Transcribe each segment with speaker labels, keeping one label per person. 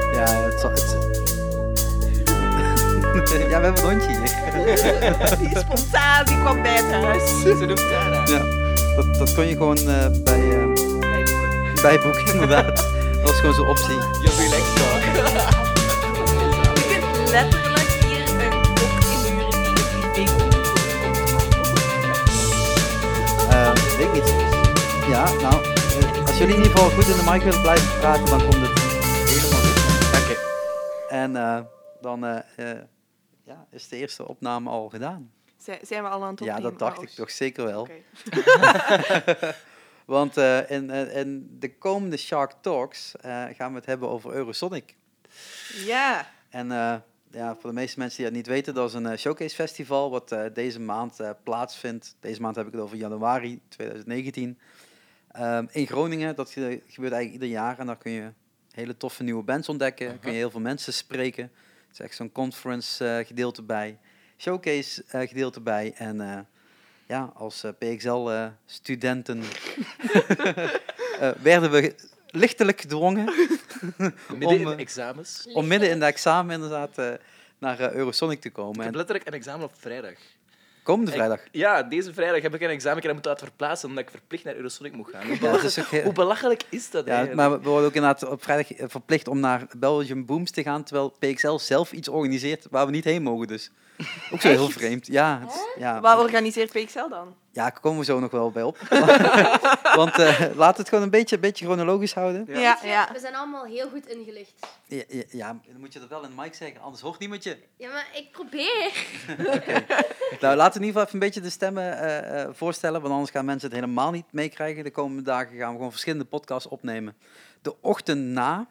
Speaker 1: zal- het- ja, we hebben een hondje hier.
Speaker 2: Die spontaan, die kwam bij het huis.
Speaker 3: Ze noemt Sarah.
Speaker 1: ja, dat, dat kon je gewoon eh, bij, eh, bij boeken, inderdaad. Dat was gewoon zo'n optie.
Speaker 3: Je relaxed dog.
Speaker 2: Je kunt letterlijk hier een kok inhuren die het hier mee
Speaker 1: Eh, weet ik niet. Ja, nou, eh, als jullie in ieder geval goed in de mic willen blijven praten, dan komt het helemaal goed.
Speaker 3: Dank
Speaker 1: En eh, dan eh, eh, ja, is de eerste opname al gedaan.
Speaker 2: Zijn, zijn we al aan het
Speaker 1: ja,
Speaker 2: opnemen?
Speaker 1: dat dacht
Speaker 2: Oh,
Speaker 1: ik toch zeker wel.
Speaker 2: oké.
Speaker 1: Want eh, in, eh, in de komende Shark Talks eh, gaan we het hebben over Eurosonic.
Speaker 2: Ja.
Speaker 1: En eh, ja, voor de meeste mensen die dat niet weten, dat is een eh, showcase festival wat eh, deze maand eh, plaatsvindt. Deze maand heb ik het over januari 2019. Ehm, in Groningen, dat ge- gebeurt eigenlijk ieder jaar. En daar kun je hele toffe nieuwe bands ontdekken.
Speaker 3: Aha.
Speaker 1: Kun je heel veel mensen spreken. Er is echt zo'n conference eh, gedeelte bij. Showcase eh, gedeelte bij. En eh, ja, als eh, PXL-studenten eh, werden we lichtelijk gedwongen
Speaker 3: Midden in
Speaker 1: Om,
Speaker 3: de
Speaker 1: eh,
Speaker 3: examens.
Speaker 1: om midden in de examen inderdaad eh, naar eh, Eurosonic te komen.
Speaker 3: Ik heb
Speaker 1: En
Speaker 3: letterlijk een examen op vrijdag.
Speaker 1: komende
Speaker 3: Ik-
Speaker 1: vrijdag.
Speaker 3: Ja, deze vrijdag heb ik een examen. Ik heb het laten verplaatsen omdat ik verplicht naar Eurosonic moet gaan. Hoe
Speaker 1: Ja, het
Speaker 3: belachelijk
Speaker 1: is ook
Speaker 3: hoe
Speaker 1: heel-
Speaker 3: belachelijk is dat
Speaker 1: ja,
Speaker 3: eigenlijk?
Speaker 1: maar we worden ook inderdaad op vrijdag eh, verplicht om naar Belgium Booms te gaan, terwijl PXL zelf iets organiseert waar we niet heen mogen. Dus ook zo heel vreemd. Ja, het is-
Speaker 2: Wat
Speaker 1: ja,
Speaker 2: organiseert PXL dan?
Speaker 1: ja, daar komen we zo nog wel bij op. Want eh laten we het gewoon een beetje, een beetje chronologisch houden.
Speaker 3: Ja.
Speaker 2: Ja,
Speaker 4: Weet je,
Speaker 2: ja.
Speaker 4: We zijn allemaal heel goed ingelicht.
Speaker 1: Ja, ja, ja, dan moet je dat wel in de mic zeggen, anders hoort niemand je.
Speaker 4: Ja, maar ik probeer.
Speaker 1: Nou, laten we in ieder geval even een beetje de stemmen eh, eh, voorstellen, want anders gaan mensen het helemaal niet meekrijgen. De komende dagen gaan we gewoon verschillende podcasts opnemen. De ochtend na,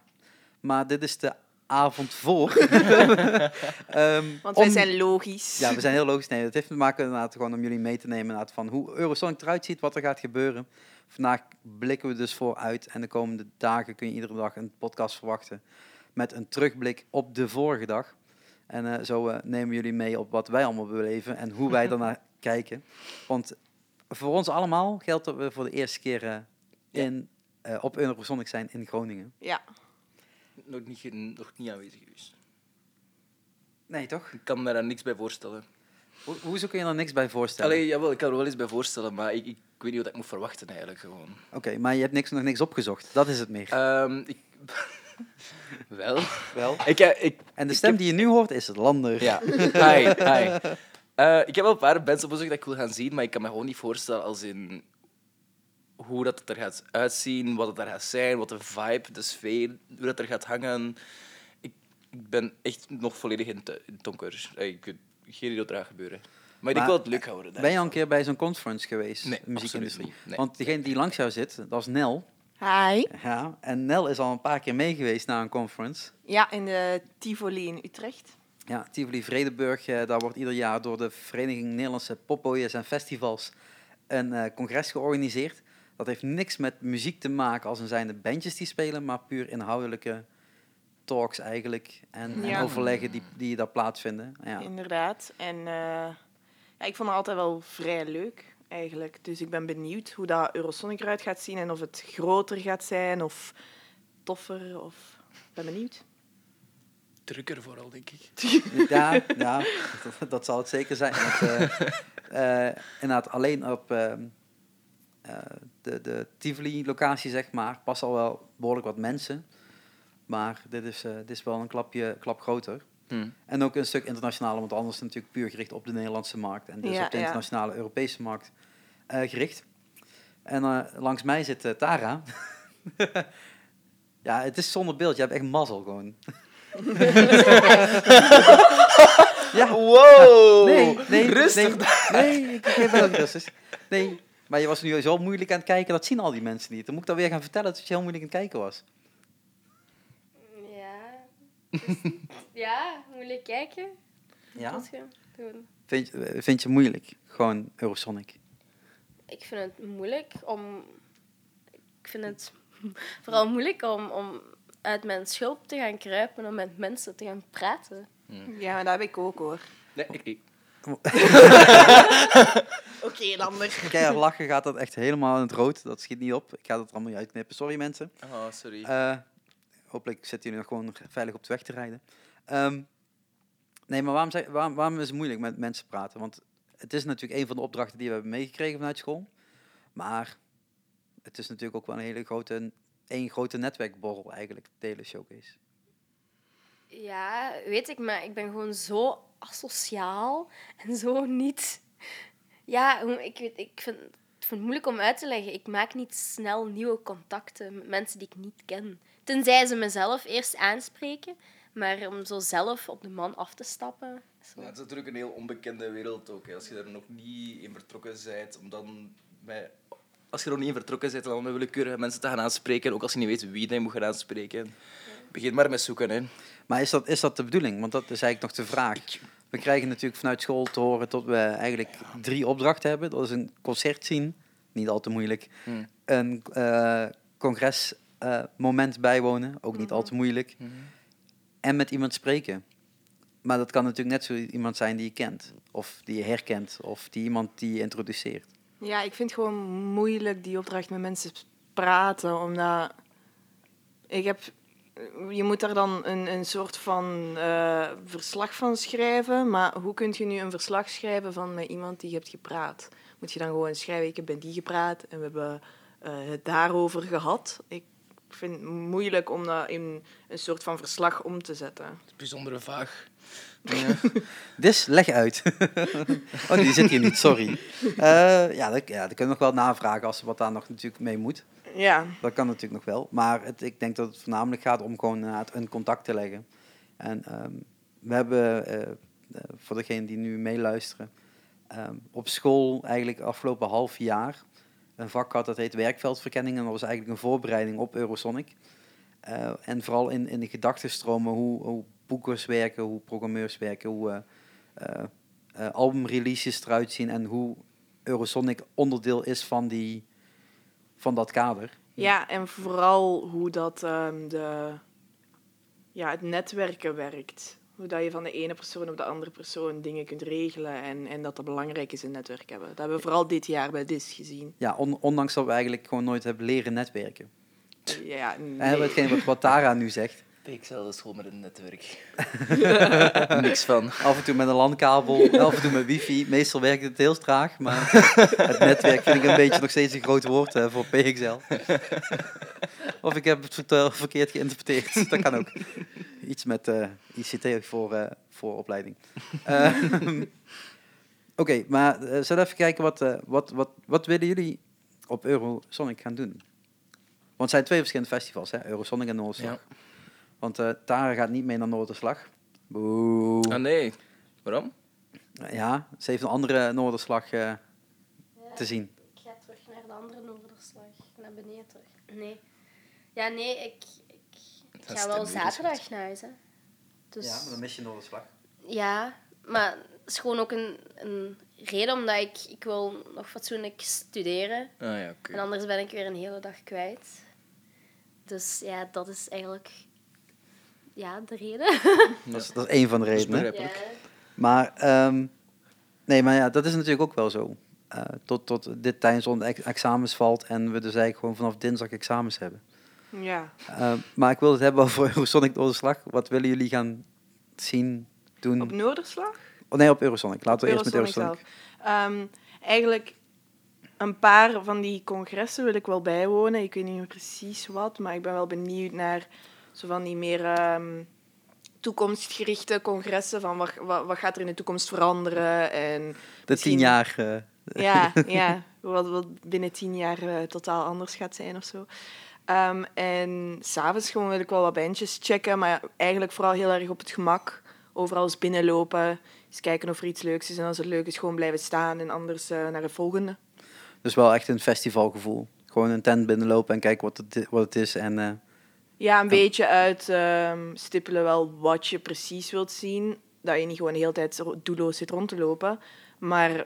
Speaker 1: maar dit is de avond voor. Ehm,
Speaker 2: Want wij
Speaker 1: om-
Speaker 2: zijn logisch.
Speaker 1: Ja, we zijn heel logisch. Nee, dat heeft te maken inderdaad gewoon om jullie mee te nemen inderdaad, van hoe Eurosonic eruit ziet, wat er gaat gebeuren. Vandaag blikken we dus vooruit en de komende dagen kun je iedere dag een podcast verwachten met een terugblik op de vorige dag. En eh, zo eh, nemen we jullie mee op wat wij allemaal beleven en hoe wij daarnaar kijken. Want voor ons allemaal geldt dat we voor de eerste keer eh,
Speaker 3: Ja.
Speaker 1: in, eh, op Eurosonic zijn in Groningen.
Speaker 2: Ja.
Speaker 3: Nog, niet, ge- nog niet aanwezig geweest.
Speaker 1: Nee, toch?
Speaker 3: Ik kan me daar niks bij voorstellen.
Speaker 1: Ho hoezo kun je daar niks bij voorstellen?
Speaker 3: Allee, jawel, ik kan er wel eens bij voorstellen, maar ik, ik weet niet wat ik moet verwachten eigenlijk gewoon.
Speaker 1: Oké, maar je hebt niks, nog niks opgezocht. Dat is het meer.
Speaker 3: Ehm, ik... wel.
Speaker 1: Wel.
Speaker 3: Ik, eh, ik,
Speaker 1: En de
Speaker 3: ik
Speaker 1: stem
Speaker 3: heb-
Speaker 1: die je nu hoort is het lander.
Speaker 3: Ja, hi, hi. Eh, ik heb wel een paar bands opgezocht dat ik wil gaan zien, maar ik kan me gewoon niet voorstellen als in hoe dat het er gaat uitzien, wat het er gaat zijn, wat de vibe, de sfeer, hoe dat er gaat hangen. Ik, ik ben echt nog volledig in, te- in het donker. Eh, Ik weet geen idee wat er gaat gebeuren. Maar, ik
Speaker 1: Maar
Speaker 3: wil het leuk houden.
Speaker 1: Ben je al een keer bij zo'n conference geweest?
Speaker 3: Nee,
Speaker 1: de muziekindustrie?
Speaker 3: absoluut niet. Nee.
Speaker 1: Want degene die langs jou zit, dat is Nel.
Speaker 2: Hi.
Speaker 1: Ja, en Nel is al een paar keer mee geweest naar een conference.
Speaker 2: Ja, in de Tivoli in Utrecht.
Speaker 1: Ja, Tivoli Vredeburg, eh, daar wordt ieder jaar door de Vereniging Nederlandse Popboys en Festivals een eh, congres georganiseerd. Dat heeft niks met muziek te maken als een zijnde bandjes die spelen, maar puur inhoudelijke talks eigenlijk. En, en
Speaker 2: Ja.
Speaker 1: overleggen die, die daar plaatsvinden. Ja.
Speaker 2: Inderdaad. En eh, ja, ik vond het altijd wel vrij leuk, eigenlijk. Dus ik ben benieuwd hoe dat Eurosonic eruit gaat zien en of het groter gaat zijn of toffer. Of... Ik ben benieuwd.
Speaker 3: Drukker vooral, denk ik.
Speaker 1: Ja, ja dat, dat zal het zeker zijn. Want, eh, eh, inderdaad, alleen op eh, eh, de, de Tivoli-locatie, zeg maar, passen al wel behoorlijk wat mensen. Maar dit is, eh, dit is wel een klapje, klap groter. En ook een stuk internationaal, want anders is het natuurlijk puur gericht op de Nederlandse markt. En dus
Speaker 2: Ja,
Speaker 1: op de
Speaker 2: ja.
Speaker 1: internationale Europese markt eh, gericht. En eh, langs mij zit eh, Tara. ja, het is zonder beeld. Je hebt echt mazzel gewoon. ja,
Speaker 3: Wow!
Speaker 1: Nee, nee,
Speaker 3: Rustig.
Speaker 1: Nee, nee ik geef wel rustig. dus Nee, maar je was nu zo moeilijk aan het kijken, dat zien al die mensen niet. Dan moet ik dat weer gaan vertellen dat je heel moeilijk aan het kijken was.
Speaker 4: Ja. Dus, ja, moeilijk kijken.
Speaker 1: Ja?
Speaker 4: Dat gewoon- gewoon.
Speaker 1: Vind, je- eh, vind je moeilijk? Gewoon Eurosonic.
Speaker 4: Ik vind het moeilijk om. Ik vind het vooral moeilijk om, om uit mijn schulp te gaan kruipen en met mensen te gaan praten.
Speaker 2: Ja, maar dat heb ik ook hoor.
Speaker 3: Nee, ik niet.
Speaker 2: Oké, Lander.
Speaker 1: Keihard lachen gaat dat echt helemaal in het rood. Dat schiet niet op. Ik ga dat er allemaal niet uitknippen. Sorry mensen.
Speaker 3: Oh, Ah, sorry.
Speaker 1: Eh, hopelijk zitten jullie nog gewoon veilig op de weg te rijden. Ehm, nee, maar waarom, zei- waarom, waarom is het moeilijk met mensen praten? Want het is natuurlijk een van de opdrachten die we hebben meegekregen vanuit school. Maar het is natuurlijk ook wel een hele grote, één grote netwerkborrel eigenlijk, de hele showcase.
Speaker 4: Ja, weet ik, maar ik ben gewoon zo asociaal en zo niet. Ja, hoe- ik, weet, ik, vind, ik vind het moeilijk om uit te leggen. Ik maak niet snel nieuwe contacten met mensen die ik niet ken. Tenzij ze mezelf eerst aanspreken, maar om zo zelf op de man af te stappen. is wel-
Speaker 3: Ja, het is natuurlijk een heel onbekende wereld ook. hè. Als je er nog niet in vertrokken bent, om dan bij... Als je er nog niet in vertrokken bent, dan met willekeurige mensen te gaan aanspreken. Ook als je niet weet wie je moet gaan aanspreken. Begin maar met zoeken. Hè.
Speaker 1: Maar is dat, is dat de bedoeling? Want dat is eigenlijk nog de vraag. We krijgen natuurlijk vanuit school te horen dat we eigenlijk drie opdrachten hebben. Dat is een concert zien, niet al te moeilijk.
Speaker 3: Hmm.
Speaker 1: Een eh, congres congresmoment bijwonen, ook niet al te moeilijk. En met iemand spreken. Maar dat kan natuurlijk net zo iemand zijn die je kent. Of die je herkent. Of die iemand die je introduceert.
Speaker 2: Ja, ik vind het gewoon moeilijk die opdracht met mensen praten, omdat ik heb, je moet daar dan een, een soort van eh, verslag van schrijven, maar hoe kun je nu een verslag schrijven van met iemand die je hebt gepraat? Moet je dan gewoon schrijven, ik heb met die gepraat en we hebben eh, het daarover gehad? Ik vind het moeilijk om dat in een soort van verslag om te zetten.
Speaker 3: Bijzondere vaag.
Speaker 1: Dus leg uit. oh, die zit hier niet, sorry. Eh, ja, dat, ja, dat kunnen we nog wel navragen als er wat daar nog natuurlijk mee moet.
Speaker 2: Ja,
Speaker 1: Dat kan natuurlijk nog wel. Maar het, ik denk dat het voornamelijk gaat om gewoon inderdaad een contact te leggen. En ehm, we hebben, eh, eh, voor degenen die nu meeluisteren, ehm, op school eigenlijk afgelopen half jaar een vak gehad dat heet werkveldverkenning. En dat was eigenlijk een voorbereiding op Eurosonic. Eh, en vooral in, in de gedachtenstromen hoe, hoe boekers werken, hoe programmeurs werken, hoe eh, eh, eh, albumreleases eruit zien en hoe Eurosonic onderdeel is van, die, van dat kader.
Speaker 2: Ja, en vooral hoe dat ehm, de, ja, het netwerken werkt. Hoe dat je van de ene persoon op de andere persoon dingen kunt regelen en, en dat dat belangrijk is in netwerk hebben. Dat hebben we vooral dit jaar bij DIS gezien.
Speaker 1: Ja, on- ondanks dat we eigenlijk gewoon nooit hebben leren netwerken.
Speaker 2: Ja,
Speaker 1: En
Speaker 2: nee.
Speaker 1: hetgeen wat, wat Tara nu zegt.
Speaker 3: de school met een netwerk. Niks van.
Speaker 1: Af en toe met een landkabel, af en toe met wifi. Meestal werkt het heel traag, maar het netwerk vind ik een beetje nog steeds een groot woord eh, voor PXL. Of ik heb het vertel- verkeerd geïnterpreteerd. Dat kan ook. Iets met eh, ICT voor, eh, voor opleiding. Eh, Oké, maar eh, zullen we even kijken wat, eh, wat, wat, wat willen jullie op Eurosonic gaan doen? Want het zijn twee verschillende festivals, hè? Eurosonic en Noorderslag. Want eh, Tara gaat niet mee naar Noorderslag. Boe.
Speaker 3: Ah nee. Waarom?
Speaker 1: Ja, ze heeft een andere Noorderslag eh, te zien.
Speaker 4: Ik ga terug naar de andere noorderslag. Naar beneden terug. Nee. Ja, nee, ik, ik,
Speaker 3: Dat
Speaker 4: ik ga
Speaker 3: is
Speaker 4: wel
Speaker 3: de noorderslag.
Speaker 4: zaterdag naar huis. Hè. Dus, ja, maar,
Speaker 1: mis je Noorderslag.
Speaker 4: het is gewoon ook een, een reden omdat ik, ik wil nog fatsoenlijk studeren.
Speaker 3: Ah ja, oké.
Speaker 4: En anders ben ik weer een hele dag kwijt. Dus ja, dat is eigenlijk ja, de reden.
Speaker 1: Dat, is, dat is één van de
Speaker 3: is
Speaker 1: redenen.
Speaker 3: begrijpelijk.
Speaker 4: Ja.
Speaker 1: Maar, ehm, nee, maar ja, dat is natuurlijk ook wel zo. Eh, tot, tot dit tijdens onze ex- examens valt en we dus eigenlijk gewoon vanaf dinsdag examens hebben.
Speaker 2: ja.
Speaker 1: Eh, maar ik wil het hebben over Eurosonic Noorderslag. Wat willen jullie gaan zien, doen?
Speaker 2: Op Noorderslag?
Speaker 1: oh, nee, op Eurosonic. Laten we eerst met
Speaker 2: Eurosonic
Speaker 1: Eurosonic.
Speaker 2: zelf. Ehm, eigenlijk een paar van die congressen wil ik wel bijwonen. Ik weet niet meer precies wat, maar ik ben wel benieuwd naar zo van die meer ehm, toekomstgerichte congressen. Van wat, wat, wat gaat er in de toekomst veranderen? En
Speaker 1: De tien jaar. eh,
Speaker 2: ja, ja. Wat, wat binnen tien jaar eh, totaal anders gaat zijn of zo. Ehm, en s'avonds gewoon wil ik wel wat bandjes checken, maar eigenlijk vooral heel erg op het gemak. Overal eens binnenlopen, eens kijken of er iets leuks is. En als het leuk is, gewoon blijven staan en anders eh, naar het volgende.
Speaker 1: dus wel echt een festivalgevoel. Gewoon een tent binnenlopen en kijken wat het, wat het is. En, eh,
Speaker 2: Ja, een beetje uit ehm, stippelen wel wat je precies wilt zien. Dat je niet gewoon de hele tijd zo doelloos zit rond te lopen. Maar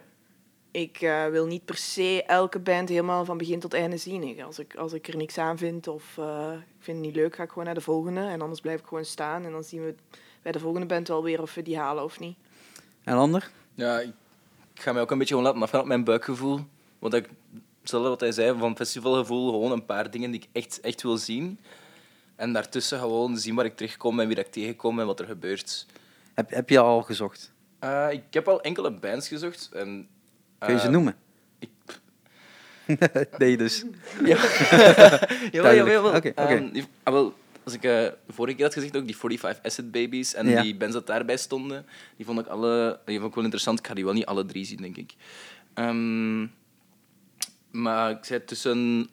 Speaker 2: ik eh, wil niet per se elke band helemaal van begin tot einde zien. Ik- Als ik, als ik er niks aan vind of eh, ik vind het niet leuk, ga ik gewoon naar de volgende. En anders blijf ik gewoon staan. En dan zien we bij de volgende band wel weer of we die halen of niet.
Speaker 1: en ander?
Speaker 3: Ja, ik ik ga mij ook een beetje gewoon laten afgaan op mijn buikgevoel. Want ik, hetzelfde wat hij zei, van festivalgevoel, gewoon een paar dingen die ik echt, echt wil zien. En daartussen gewoon zien waar ik terugkom en wie dat ik tegenkom en wat er gebeurt.
Speaker 1: Heb, heb je al gezocht?
Speaker 3: Eh, ik heb al enkele bands gezocht. En,
Speaker 1: Kun je ze
Speaker 3: eh,
Speaker 1: noemen?
Speaker 3: ik-
Speaker 1: nee, dus.
Speaker 3: Ja, jawel, jawel,
Speaker 1: Duidelijk.
Speaker 3: jawel.
Speaker 1: Oké, oké.
Speaker 3: Ehm, die- ah, wel, als ik eh, vorige keer had gezegd, ook die 45 Acid Babies en
Speaker 1: Ja.
Speaker 3: die bands dat daarbij stonden, die vond ik, alle, die vond ik wel interessant. Ik ga die wel niet alle drie zien, denk ik. Ehm, maar ik zei tussen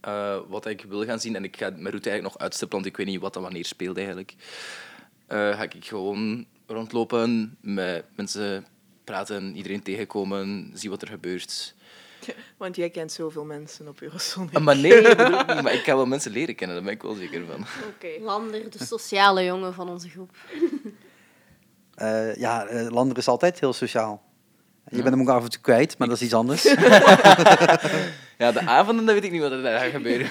Speaker 3: eh, wat ik wil gaan zien en ik ga mijn route eigenlijk nog uitstippelen, want ik weet niet wat en wanneer speelt eigenlijk. Eh, ga ik gewoon rondlopen, met mensen praten, iedereen tegenkomen, zie wat er gebeurt.
Speaker 2: Want jij kent zoveel mensen op Eurosonic.
Speaker 3: Ah, Maar nee, ik bedoel het niet, maar ik kan wel mensen leren kennen, daar ben ik wel zeker van.
Speaker 2: Oké.
Speaker 4: Lander, de sociale jongen van onze groep.
Speaker 1: Eh, ja, eh, Lander is altijd heel sociaal. Je bent hem ook af en toe kwijt, maar dat is iets anders.
Speaker 3: Ja, de avonden, dan weet ik niet wat er daar gaat gebeuren.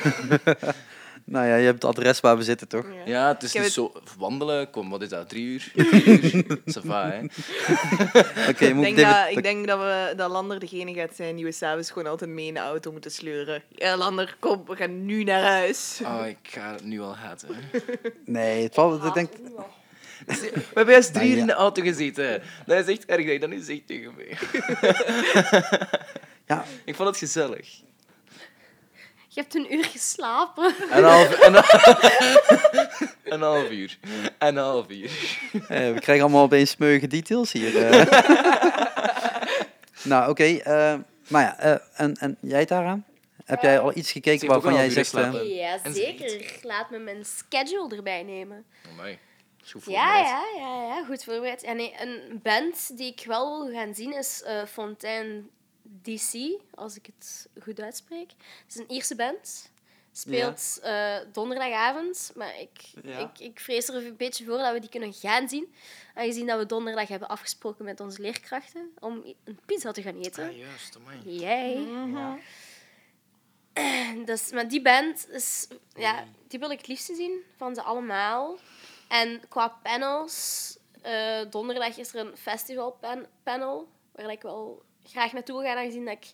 Speaker 1: nou ja, je hebt het adres waar we zitten, toch?
Speaker 2: Ja.
Speaker 3: Ja, het is
Speaker 2: Ik heb
Speaker 3: niet zo... Wandelen, kom, wat is dat, drie uur? Vier uur? Ça va, hè.
Speaker 1: Oké,
Speaker 2: Ik
Speaker 1: moet
Speaker 2: denk,
Speaker 1: ik
Speaker 2: dat,
Speaker 1: David...
Speaker 2: ik denk dat, we, dat Lander degene gaat zijn die we s'avonds gewoon altijd mee in de auto moeten sleuren. Ja, Lander, kom, we gaan nu naar huis.
Speaker 3: Oh, ik ga het nu al haten. hè.
Speaker 1: Nee, het valt... Ik denk,
Speaker 4: Ah,
Speaker 3: We hebben juist drie
Speaker 1: Nou,
Speaker 3: uur in
Speaker 1: ja.
Speaker 3: de auto gezeten. Dat is echt erg dat je dat nu zegt tegen mij.
Speaker 1: ja,
Speaker 3: Ik vond het gezellig.
Speaker 4: Je hebt een uur geslapen.
Speaker 3: Een half... Een half, een half uur. Een half uur.
Speaker 1: Eh, we krijgen allemaal opeens smeuïge details hier. eh. nou, oké. eh, maar ja, eh, en, en jij, Tara? Heb jij al iets gekeken
Speaker 3: Ze heeft ook
Speaker 1: waarvan
Speaker 3: al
Speaker 1: jij
Speaker 3: een uur
Speaker 1: zegt... eh,
Speaker 3: geslapen.
Speaker 4: Ja,
Speaker 3: En
Speaker 4: zeker. Laat me mijn schedule erbij nemen.
Speaker 3: Amai. dat is goed
Speaker 4: Ja,
Speaker 3: voorbereid.
Speaker 4: ja, ja, ja, goed voorbereid. Ja, nee, een band die ik wel wil gaan zien is eh Fontaine DC, als ik het goed uitspreek. Het is een Ierse band. Speelt eh, donderdagavond, maar ik,
Speaker 1: Ja.
Speaker 4: ik, ik vrees er een beetje voor dat we die kunnen gaan zien. Aangezien dat we donderdag hebben afgesproken met onze leerkrachten om i- een pizza te gaan eten.
Speaker 3: Ah, juist, amai.
Speaker 4: Jij.
Speaker 1: Ja.
Speaker 4: Dus, maar die band, is, ja, die wil ik het liefst zien van ze allemaal. En qua panels, eh, donderdag is er een festivalpanel waar ik wel graag naartoe wil gaan, aangezien dat ik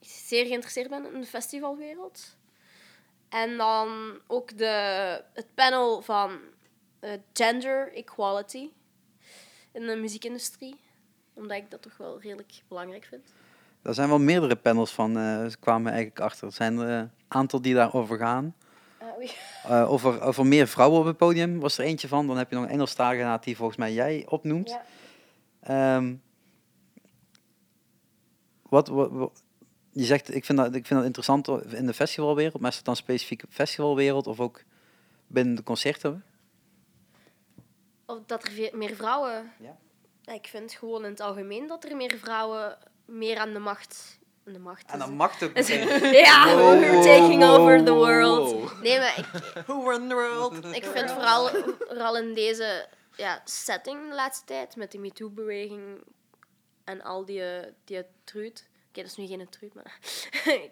Speaker 4: zeer geïnteresseerd ben in de festivalwereld. En dan ook de, het panel van eh, gender equality in de muziekindustrie, omdat ik dat toch wel redelijk belangrijk vind.
Speaker 1: Daar zijn wel meerdere panels van, eh, ze kwamen eigenlijk achter. Er zijn er een aantal die daarover gaan.
Speaker 4: Ah, oei.
Speaker 1: Eh, over, over meer vrouwen op het podium was er eentje van. Dan heb je nog een Engelstalige naad die volgens mij jij opnoemt.
Speaker 4: Ja.
Speaker 1: Ehm, wat, wat, wat- je zegt, ik vind, dat, ik vind dat interessant in de festivalwereld, maar is het dan specifiek festivalwereld of ook binnen de concerten?
Speaker 4: Of dat er ve- meer vrouwen.
Speaker 1: Ja.
Speaker 4: Ik vind gewoon in het algemeen dat er meer vrouwen meer aan de macht. Aan de macht. is-
Speaker 1: mag ook.
Speaker 4: ja,
Speaker 1: Wow,
Speaker 4: we're
Speaker 1: wow,
Speaker 4: taking
Speaker 3: wow,
Speaker 4: over the
Speaker 3: wow,
Speaker 4: world.
Speaker 3: wow.
Speaker 4: Nee, maar ik,
Speaker 2: Who run the world?
Speaker 4: ik vind vooral, vooral in deze ja, setting de laatste tijd, met die MeToo-beweging en al die, eh, die truut. Oké, dat is nu geen truut, maar...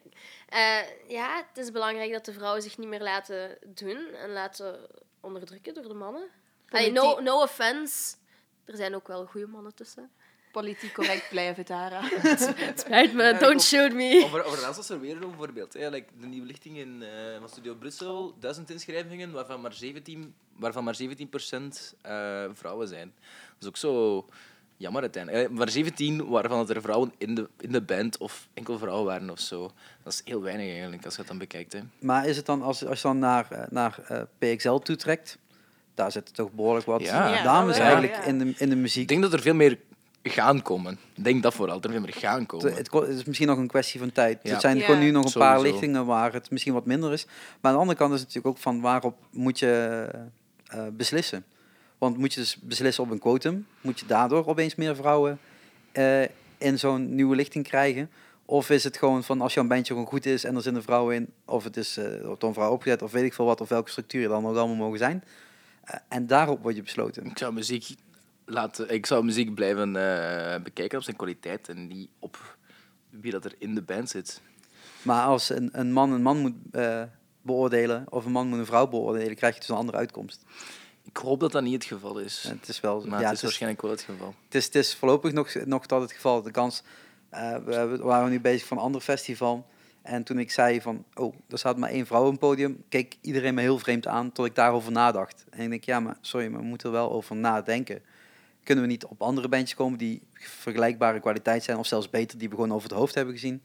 Speaker 4: Eh, ja, het is belangrijk dat de vrouwen zich niet meer laten doen en laten onderdrukken door de mannen. Allee, no,
Speaker 2: Politie-
Speaker 4: no offense. Er zijn ook wel goede mannen tussen.
Speaker 2: Politiek correct blijven, Tara.
Speaker 4: Het spijt me, don't shoot me.
Speaker 3: Over, over laatst was er weer een voorbeeld. Hè. Like, de nieuwe lichting in, eh, van Studio Brussel, duizend inschrijvingen, waarvan maar 17, waarvan maar 17 eh, vrouwen zijn. Dat is ook zo jammer uiteindelijk. Eh, maar 17 waarvan dat er vrouwen in de, in de band of enkel vrouwen waren of zo. Dat is heel weinig eigenlijk, als je dat dan bekijkt. Hè.
Speaker 1: Maar is het dan, als, als je dan naar, eh, naar eh, PXL toetrekt, daar zitten toch behoorlijk wat
Speaker 3: Ja.
Speaker 2: Ja,
Speaker 1: dames
Speaker 2: wel,
Speaker 3: ja.
Speaker 1: eigenlijk
Speaker 2: Ja.
Speaker 1: in, de, in de
Speaker 3: Ik
Speaker 1: muziek.
Speaker 3: denk dat er veel meer gaan komen. Ik denk dat vooral, dat er veel meer gaan
Speaker 1: Het,
Speaker 3: komen.
Speaker 1: het ko- het is misschien nog een kwestie van tijd.
Speaker 3: Ja.
Speaker 1: Het zijn
Speaker 2: Ja.
Speaker 1: gewoon nu nog een paar
Speaker 3: Sowieso.
Speaker 1: lichtingen waar het misschien wat minder is. Maar aan de andere kant is het natuurlijk ook van waarop moet je eh, beslissen. Want moet je dus beslissen op een quotum? Moet je daardoor opeens meer vrouwen eh, in zo'n nieuwe lichting krijgen? Of is het gewoon van als jouw bandje gewoon goed is en er zitten vrouwen in, of het is eh door een vrouw opgezet, of weet ik veel wat, of welke structuur er dan ook allemaal mogen zijn. Eh, en daarop wordt je besloten.
Speaker 3: Ik zou muziek, laten, ik zou muziek blijven eh, bekijken op zijn kwaliteit en niet op wie dat er in de band zit.
Speaker 1: Maar als een, een man een man moet eh, beoordelen, of een man moet een vrouw beoordelen, krijg je dus een andere uitkomst.
Speaker 3: Ik hoop dat dat niet het geval is.
Speaker 1: Het is wel,
Speaker 3: Maar
Speaker 1: ja,
Speaker 3: het is waarschijnlijk wel het geval.
Speaker 1: het is, het is voorlopig nog, nog dat het geval. De kans, eh, we hebben- we waren nu bezig van een ander festival. En toen ik zei van, oh, er staat maar één vrouw op het podium, keek iedereen me heel vreemd aan tot ik daarover nadacht. En ik denk, ja, maar sorry, maar we moeten er wel over nadenken. Kunnen we niet op andere bandjes komen die vergelijkbare kwaliteit zijn, of zelfs beter, die we gewoon over het hoofd hebben gezien,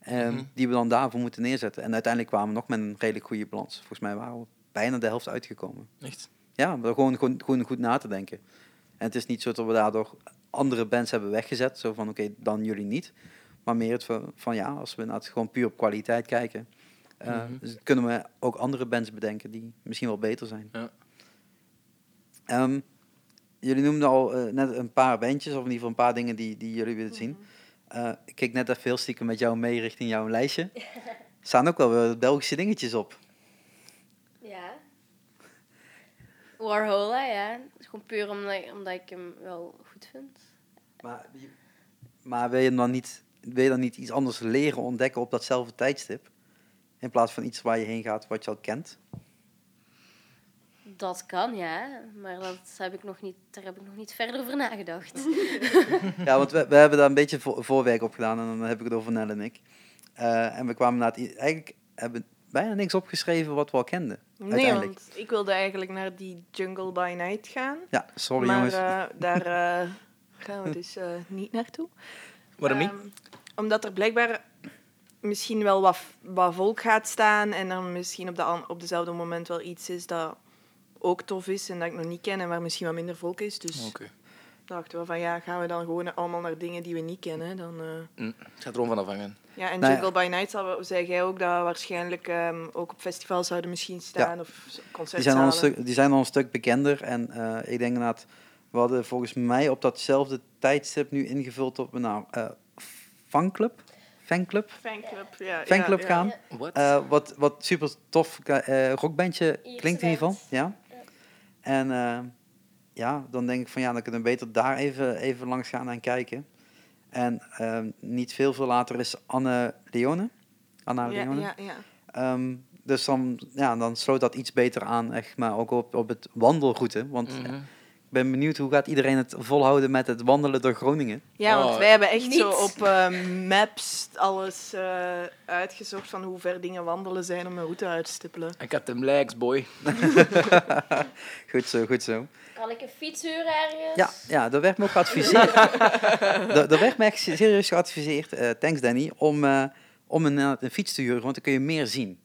Speaker 1: eh,
Speaker 3: Mhm.
Speaker 1: die we dan daarvoor moeten neerzetten. En uiteindelijk kwamen we nog met een redelijk goede balans. Volgens mij waren we bijna de helft uitgekomen.
Speaker 3: Echt?
Speaker 1: Ja, maar gewoon, gewoon, gewoon goed na te denken. En het is niet zo dat we daardoor andere bands hebben weggezet. Zo van, oké, dan jullie niet. Maar meer het van, van, ja, als we inderdaad gewoon puur op kwaliteit kijken... eh,
Speaker 3: Mhm.
Speaker 1: dus kunnen we ook andere bands bedenken die misschien wel beter zijn.
Speaker 3: Ja.
Speaker 1: Ehm, jullie noemden al eh, net een paar bandjes, of in ieder geval een paar dingen die, die jullie willen zien. Eh, ik keek net even heel stiekem met jou mee richting jouw lijstje. Er staan ook wel weer Belgische dingetjes op.
Speaker 4: Ja. Warhol, hè, ja. Dat is gewoon puur omdat, omdat ik hem wel goed vind.
Speaker 1: Maar, je- maar wil, je dan niet, wil je dan niet iets anders leren ontdekken op datzelfde tijdstip? In plaats van iets waar je heen gaat wat je al kent?
Speaker 4: Dat kan, ja. Maar dat heb ik nog niet, daar heb ik nog niet verder over nagedacht.
Speaker 1: Ja, want we, we hebben daar een beetje vo- voorwerk op gedaan en dan heb ik het over Nel en ik. Eh, en we kwamen na het, i- eigenlijk hebben we bijna niks opgeschreven wat we al kenden.
Speaker 2: Nee,
Speaker 1: uiteindelijk.
Speaker 2: want ik wilde eigenlijk naar die Jungle by Night gaan.
Speaker 1: Ja, sorry
Speaker 2: maar
Speaker 1: jongens.
Speaker 2: eh, daar eh, gaan we dus eh, niet naartoe.
Speaker 3: Waarom niet?
Speaker 2: Ehm, omdat er blijkbaar misschien wel wat, wat volk gaat staan en er misschien op, de, an- op dezelfde moment wel iets is dat ook tof is en dat ik nog niet ken en waar misschien wat minder volk is. Dus
Speaker 3: Oké.
Speaker 2: dachten we van ja, gaan we dan gewoon allemaal naar dingen die we niet kennen. Dan, eh.
Speaker 3: Mm, Het gaat er gewoon van afhangen.
Speaker 2: Ja, en
Speaker 1: Nou ja.
Speaker 2: Jungle by Night zal, wel- zei jij ook dat waarschijnlijk ehm, ook op festivals zouden misschien staan of
Speaker 1: Die
Speaker 2: z-
Speaker 1: zijn, al een
Speaker 2: concertzalen.
Speaker 1: stuk, die zijn al een stuk bekender. En eh, ik denk inderdaad, we hadden volgens mij op datzelfde tijdstip nu ingevuld op een naam. eh, fanclub? Fanclub?
Speaker 2: Fanclub, ja.
Speaker 1: Fanclub
Speaker 2: ja, ja.
Speaker 1: gaan.
Speaker 3: Wat?
Speaker 1: Eh, wat, wat super tof eh, rockbandje
Speaker 4: Ierse
Speaker 1: klinkt in ieder geval.
Speaker 4: band.
Speaker 1: Ja. En eh, ja, dan denk ik van ja, dan kunnen we beter daar even, even langs gaan en kijken. En eh, niet veel, veel later is Anne Leone. Anna
Speaker 2: Ja,
Speaker 1: Leone.
Speaker 2: ja, ja.
Speaker 1: Ehm, dus dan, ja, dan sloot dat iets beter aan, echt, maar ook op, op het wandelroute. Want eh,
Speaker 3: Mhm.
Speaker 1: ik ben benieuwd hoe gaat iedereen het volhouden met het wandelen door Groningen.
Speaker 2: Ja,
Speaker 3: Oh,
Speaker 2: want wij hebben echt
Speaker 4: niet.
Speaker 2: zo op eh, maps alles eh, uitgezocht van hoe ver dingen wandelen zijn om een route uit te stippelen.
Speaker 3: Ik had hem likes, boy.
Speaker 1: Goed zo, goed zo.
Speaker 4: Kan ik een fiets huren ergens?
Speaker 1: Ja, ja daar werd me ook geadviseerd. daar, daar werd me echt serieus geadviseerd, eh, thanks Danny, om, eh, om een, eh, een fiets te huren, want dan kun je meer zien.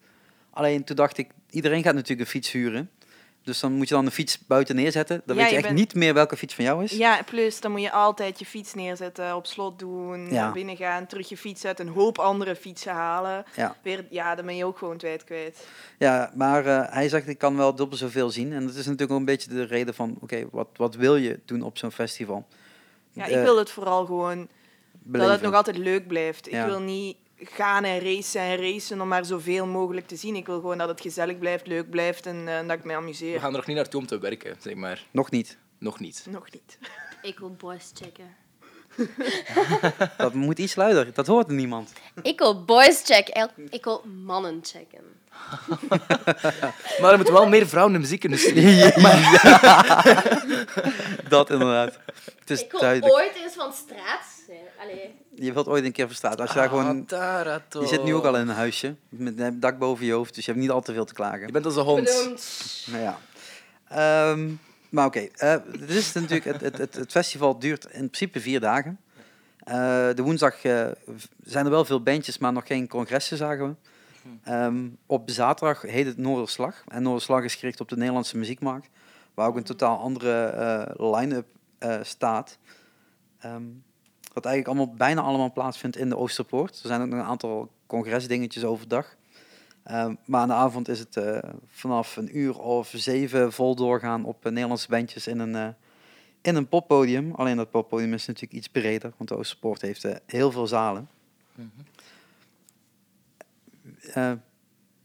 Speaker 1: Alleen toen dacht ik, iedereen gaat natuurlijk een fiets huren. Dus dan moet je dan een fiets buiten neerzetten. Dan
Speaker 2: Ja,
Speaker 1: weet je
Speaker 2: je
Speaker 1: echt
Speaker 2: bent-
Speaker 1: niet meer welke fiets van jou is.
Speaker 2: Ja, plus dan moet je altijd je fiets neerzetten, op slot doen,
Speaker 1: Ja.
Speaker 2: naar binnen gaan, terug je fiets uit, een hoop andere fietsen halen.
Speaker 1: Ja.
Speaker 2: Weer, ja, dan ben je ook gewoon tijd kwijt.
Speaker 1: Ja, maar eh, hij zegt ik kan wel dubbel zoveel zien. En dat is natuurlijk ook een beetje de reden van, oké, wat, wat wil je doen op zo'n festival?
Speaker 2: Ja,
Speaker 1: Eh,
Speaker 2: ik wil het vooral gewoon dat
Speaker 1: beleven.
Speaker 2: het nog altijd leuk blijft.
Speaker 1: Ja.
Speaker 2: Ik wil niet gaan en racen en racen om maar zoveel mogelijk te zien. Ik wil gewoon dat het gezellig blijft, leuk blijft en eh, dat ik me
Speaker 3: We
Speaker 2: amuseer.
Speaker 3: gaan er nog niet naartoe om te werken, zeg maar.
Speaker 1: Nog niet.
Speaker 3: Nog niet.
Speaker 2: Nog niet.
Speaker 4: Ik wil boys checken.
Speaker 1: Dat moet iets luider. Dat hoort niemand.
Speaker 4: Ik wil boys checken. Eigenlijk, Ik wil mannen checken.
Speaker 3: Maar er moeten wel meer vrouwen in de muziekindustrie.
Speaker 1: Dat inderdaad. Het is
Speaker 4: Ik wil
Speaker 1: duidelijk.
Speaker 4: ooit eens van straat zijn. Allee.
Speaker 1: Je wilt ooit een keer verstraat. Als je daar gewoon...
Speaker 3: Atarato.
Speaker 1: Je zit nu ook al in een huisje. Met een dak boven je hoofd. Dus je hebt niet al te veel te klagen.
Speaker 3: Je bent als een hond.
Speaker 4: Bedankt.
Speaker 1: Nou ja. Ehm, maar oké, eh, dit is natuurlijk het, het, het, het festival duurt in principe vier dagen. Eh, de woensdag eh, v- zijn er wel veel bandjes, maar nog geen congressen, zagen we. Ehm, op zaterdag heet het Noorderslag. En Noorderslag is gericht op de Nederlandse muziekmarkt, waar ook een totaal andere eh, line-up eh, staat. Ehm, wat eigenlijk allemaal, bijna allemaal plaatsvindt in de Oosterpoort. Er zijn ook nog een aantal congresdingetjes overdag. Ehm, maar aan de avond is het eh, vanaf een uur of zeven vol doorgaan op eh, Nederlandse bandjes in een, eh, in een poppodium. Alleen dat poppodium is natuurlijk iets breder, want de Oosterpoort heeft eh, heel veel zalen. Eh,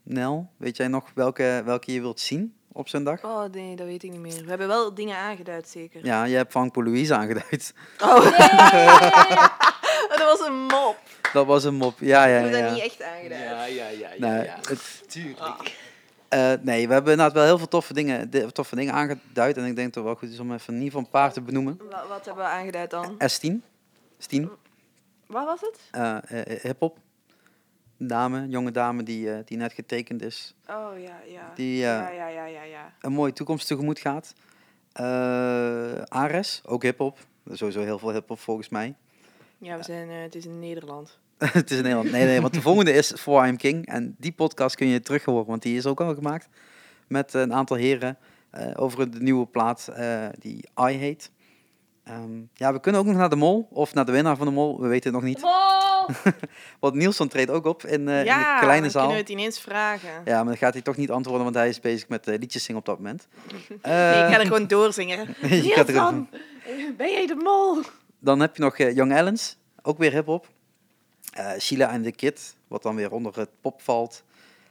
Speaker 1: Nel, weet jij nog welke, welke je wilt zien op zo'n dag?
Speaker 2: Oh nee, dat weet ik niet meer. We hebben wel dingen aangeduid, zeker.
Speaker 1: Ja, je hebt Frank Louise aangeduid.
Speaker 2: Oh,
Speaker 4: Nee!
Speaker 2: dat was een mop.
Speaker 1: Dat was een mop. Ja, ja,
Speaker 2: Ik heb dat
Speaker 1: ja.
Speaker 2: niet echt aangeduid.
Speaker 3: Ja, ja, ja. ja,
Speaker 1: Nee,
Speaker 3: ja.
Speaker 1: het-
Speaker 3: Tuurlijk.
Speaker 1: Eh, nee, we hebben inderdaad wel heel veel toffe dingen, di- toffe dingen aangeduid. En ik denk dat het wel goed is om even in ieder geval een paar te benoemen.
Speaker 2: Wat, wat hebben we aangeduid dan?
Speaker 1: S10. S10.
Speaker 2: Wat was het?
Speaker 1: eh, eh, hip-hop. eh, dame, jonge dame die, eh, die net getekend is,
Speaker 2: Oh ja, ja.
Speaker 1: Die, eh,
Speaker 2: ja, ja, ja, ja, ja.
Speaker 1: een mooie toekomst tegemoet gaat. Eh, Ares, ook hip-hop. Dat is Sowieso heel veel hip-hop volgens mij.
Speaker 2: Ja, we zijn, eh, het is in Nederland.
Speaker 1: het is in Nederland. Nee, nee, want de volgende is For I'm King. En die podcast kun je terug horen, want die is ook al gemaakt. Met een aantal heren eh, over de nieuwe plaat eh, die I Hate. Ehm, ja, we kunnen ook nog naar de mol of naar de winnaar van de mol. We weten het nog niet.
Speaker 4: Wow!
Speaker 1: Want Nielsen treedt ook op in, eh,
Speaker 2: ja,
Speaker 1: in de kleine
Speaker 2: dan
Speaker 1: zaal.
Speaker 2: kunnen we het ineens vragen.
Speaker 1: Ja, maar dan gaat hij toch niet antwoorden, want hij is bezig met eh, liedjes zingen op dat moment.
Speaker 2: Nee, ik
Speaker 1: Eh,
Speaker 2: ga er gewoon doorzingen.
Speaker 1: Je gaat er-
Speaker 2: Nielsen, ben jij de mol?
Speaker 1: Dan heb je nog eh, Young Allens, ook weer hip-hop. Eh, Sheila and the Kid, wat dan weer onder het pop valt.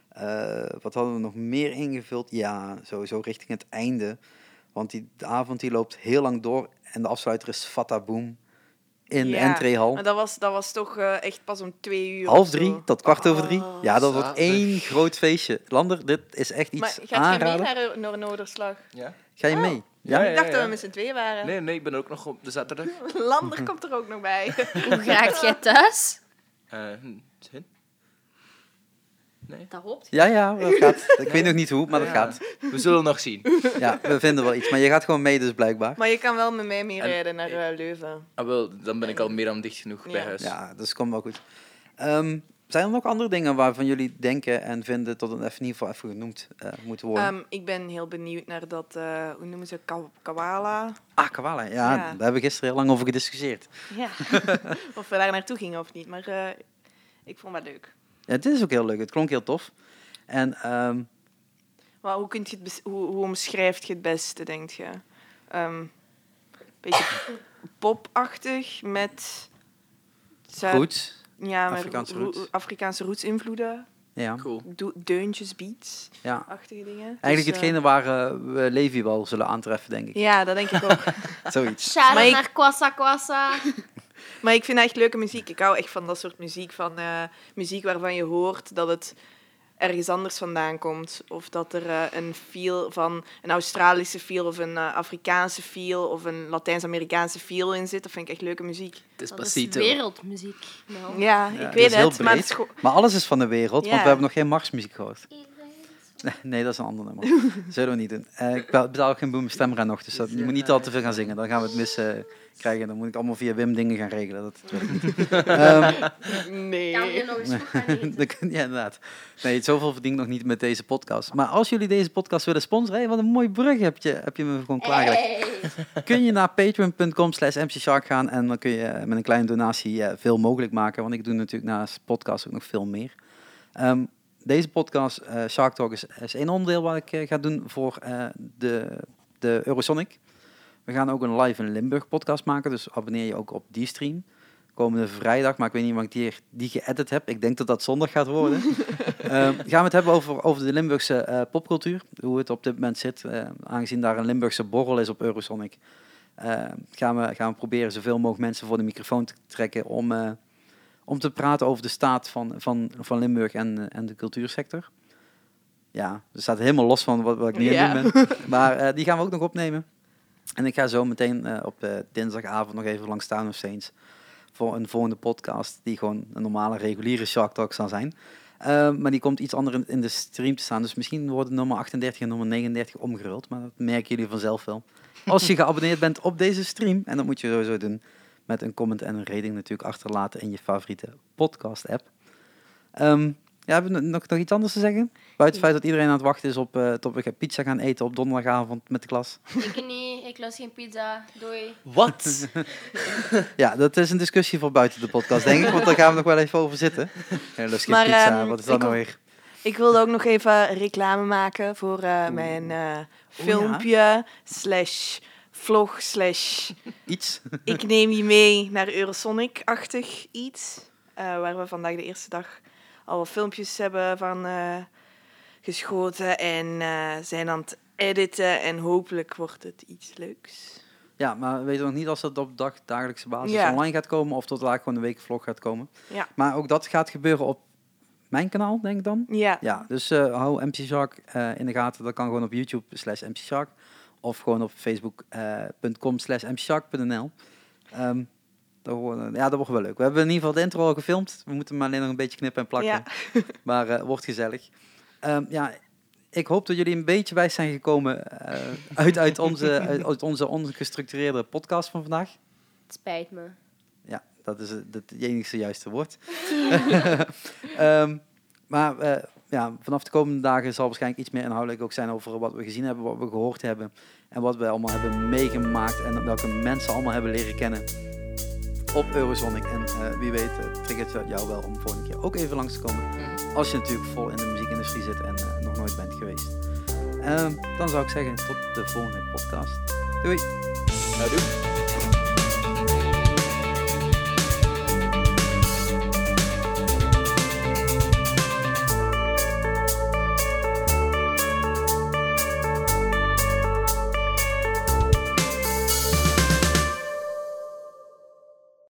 Speaker 1: Eh, wat hadden we nog meer ingevuld? Ja, sowieso richting het einde. Want die de avond die loopt heel lang door en de afsluiter is Fatta Boom in de
Speaker 2: Ja,
Speaker 1: entreehal.
Speaker 2: Maar dat was, dat was toch eh, echt pas om twee uur.
Speaker 1: Half
Speaker 2: of zo.
Speaker 1: drie tot kwart over drie.
Speaker 2: Oh.
Speaker 1: Ja, dat wordt
Speaker 3: zalig.
Speaker 1: één groot feestje. Lander, dit is echt
Speaker 2: Maar
Speaker 1: iets
Speaker 2: gaat je mee
Speaker 1: aanraden.
Speaker 2: naar, naar Noorderslag?
Speaker 3: Ja?
Speaker 1: Ga je
Speaker 2: Oh.
Speaker 1: mee?
Speaker 3: Ja, ja,
Speaker 2: ik dacht dat
Speaker 3: ja.
Speaker 2: we met z'n twee waren.
Speaker 3: Nee, nee, ik ben ook nog op de zaterdag.
Speaker 2: Lander komt er ook nog bij.
Speaker 4: Hoe raakt jij thuis?
Speaker 3: Eh, hm, zin?
Speaker 4: Dat hoopt.
Speaker 1: Ja, ja, dat gaat. Ik weet nog niet hoe, maar dat
Speaker 3: Ja.
Speaker 1: gaat.
Speaker 3: We zullen nog zien.
Speaker 1: Ja, we vinden wel iets. Maar je gaat gewoon mee dus blijkbaar.
Speaker 2: Maar je kan wel met mij mee
Speaker 3: En-
Speaker 2: rijden naar eh, Leuven.
Speaker 3: Ah, wel, dan ben ik al meer dan dicht genoeg bij
Speaker 2: Ja.
Speaker 3: huis.
Speaker 1: Ja, dus komt wel goed. Ehm, zijn er nog andere dingen waarvan jullie denken en vinden dat het even in ieder geval even genoemd eh, moet worden?
Speaker 2: Ehm, ik ben heel benieuwd naar dat, eh, hoe noemen ze, Ka- Kawala?
Speaker 1: ah, Kawala, ja,
Speaker 2: ja.
Speaker 1: daar hebben we gisteren heel lang over gediscussieerd.
Speaker 2: Ja. of we daar naartoe gingen of niet, maar eh, ik vond dat leuk.
Speaker 1: Ja, het is ook heel leuk, het klonk heel tof. En ehm,
Speaker 2: Maar hoe, kunt je het bes- hoe, hoe omschrijft je het beste, denk je? Ehm beetje popachtig met... Zuid-
Speaker 1: goed,
Speaker 2: Ja, met
Speaker 1: Afrikaanse
Speaker 2: roe- roe-
Speaker 1: roots.
Speaker 2: Afrikaanse roots-invloeden.
Speaker 1: ja.
Speaker 3: Cool.
Speaker 2: Do- deuntjes, beats,
Speaker 1: ja.
Speaker 2: achtige dingen.
Speaker 1: Eigenlijk
Speaker 2: Dus, eh,
Speaker 1: hetgene waar eh, we Levi wel zullen aantreffen, denk ik.
Speaker 2: Ja, dat denk ik ook.
Speaker 1: Zoiets.
Speaker 4: Shout
Speaker 2: Maar ik-
Speaker 4: naar Kwassa Kwassa.
Speaker 2: Maar ik vind echt leuke muziek. Ik hou echt van dat soort muziek. Van eh, muziek waarvan je hoort dat het ergens anders vandaan komt. Of dat er eh, een feel van een Australische feel of een eh, Afrikaanse feel of een Latijns-Amerikaanse feel in zit. Dat vind ik echt leuke muziek.
Speaker 3: Het is
Speaker 4: Dat is
Speaker 3: Pasito.
Speaker 4: wereldmuziek. Nou.
Speaker 2: Ja,
Speaker 1: Ja,
Speaker 2: ik
Speaker 1: dat is
Speaker 2: weet
Speaker 1: heel
Speaker 2: het. Maar
Speaker 1: breed.
Speaker 2: het is gewoon-
Speaker 1: Maar alles is van de wereld, want
Speaker 2: Ja.
Speaker 1: we hebben nog geen Marsmuziek gehoord. Nee, dat is een ander nummer. Zullen we niet doen. Eh, ik be- betaal geen boemstemra nog, dus dat, je moet niet al te veel gaan zingen. Dan gaan we het mis eh, krijgen. Dan moet ik allemaal via Wim dingen gaan regelen. Dat wil ik niet. Ehm,
Speaker 4: Kan je
Speaker 2: nee.
Speaker 4: nog eens goed gaan eten?
Speaker 1: dan kun- ja, inderdaad. Nee, zoveel verdien ik nog niet met deze podcast. Maar als jullie deze podcast willen sponsoren, hé, wat een mooi brug heb je, heb je me gewoon klaargelegd.
Speaker 4: Hey.
Speaker 1: Kun je naar patreon.com slash mcshark gaan en dan kun je eh, met een kleine donatie eh, veel mogelijk maken. Want ik doe natuurlijk naast podcast ook nog veel meer. Ehm, deze podcast, eh, Shark Talk, is, is één onderdeel wat ik eh, ga doen voor eh, de, de Eurosonic. We gaan ook een live in Limburg podcast maken, dus abonneer je ook op die stream. Komende vrijdag, maar ik weet niet wanneer ik die, die geëdit heb. Ik denk dat dat zondag gaat worden. Ehm, gaan we het hebben over, over de Limburgse eh, popcultuur. Hoe het op dit moment zit. eh, aangezien daar een Limburgse borrel is op Eurosonic. eh, gaan, we, gaan we proberen zoveel mogelijk mensen voor de microfoon te trekken. Om, eh, om te praten over de staat van, van, van Limburg en, eh, en de cultuursector. Ja, dat staat helemaal los van wat, wat ik nu aan
Speaker 2: Ja.
Speaker 1: het doen ben. Maar eh, die gaan we ook nog opnemen. En ik ga zo meteen eh, op eh, dinsdagavond nog even langs Town of Saints. Voor een volgende podcast die gewoon een normale, reguliere Shark Talk zal zijn. Eh, maar die komt iets anders in, in de stream te staan. Dus misschien worden nummer 38 en nummer 39 omgeruld. Maar dat merken jullie vanzelf wel. Als je geabonneerd bent op deze stream, en dat moet je sowieso doen. Met een comment en een rating natuurlijk achterlaten in je favoriete podcast-app. Ehm, ja, hebben we nog, nog iets anders te zeggen? Buiten het feit dat iedereen aan het wachten is op eh tot we gaan pizza gaan eten op donderdagavond met de klas.
Speaker 4: Ik niet, ik lust geen pizza. Doei.
Speaker 3: Wat?
Speaker 1: Ja, dat is een discussie voor buiten de podcast, denk ik. Want daar gaan we nog wel even over zitten. Ja, lust geen
Speaker 2: Maar,
Speaker 1: pizza,
Speaker 2: ehm,
Speaker 1: wat is dat
Speaker 2: ik
Speaker 1: nou
Speaker 2: wil-
Speaker 1: weer?
Speaker 2: Ik wilde ook nog even reclame maken voor eh, mijn eh, filmpje slash vlog slash
Speaker 1: Iets?
Speaker 2: ik neem je mee naar Eurosonic-achtig iets. eh, waar we vandaag de eerste dag al wat filmpjes hebben van eh, geschoten. En eh, zijn aan het editen. En hopelijk wordt het iets leuks.
Speaker 1: Ja, maar we weten nog niet als dat op dag, dagelijkse basis
Speaker 2: Ja.
Speaker 1: online gaat komen of tot laat gewoon een week vlog gaat komen.
Speaker 2: Ja.
Speaker 1: Maar ook dat gaat gebeuren op mijn kanaal, denk ik dan.
Speaker 2: Ja,
Speaker 1: Ja, dus eh, hou MC Shark eh, in de gaten. Dat kan gewoon op YouTube slash MC Shark eh, of gewoon op facebook.com slash mcshark.nl. Ehm, Dat wordt, ja, dat wordt wel leuk. We hebben in ieder geval de intro al gefilmd. We moeten hem alleen nog een beetje knippen en plakken.
Speaker 2: Ja.
Speaker 1: Maar eh, wordt gezellig. Ehm, ja, ik hoop dat jullie een beetje wijs zijn gekomen eh, uit, uit, onze, uit, uit onze ongestructureerde podcast van vandaag.
Speaker 4: Het spijt me.
Speaker 1: Ja, dat is het het enige juiste woord. Ehm, maar eh, ja, vanaf de komende dagen zal waarschijnlijk iets meer inhoudelijk ook zijn over wat we gezien hebben, wat we gehoord hebben en wat we allemaal hebben meegemaakt en welke mensen allemaal hebben leren kennen op Eurosonic. En eh, wie weet eh, triggert dat jou wel om volgende keer ook even langs te komen. Als je natuurlijk vol in de muziekindustrie zit en eh, nog nooit bent geweest. Ehm, dan zou ik zeggen, tot de volgende podcast. Doei!
Speaker 3: Nou, doe.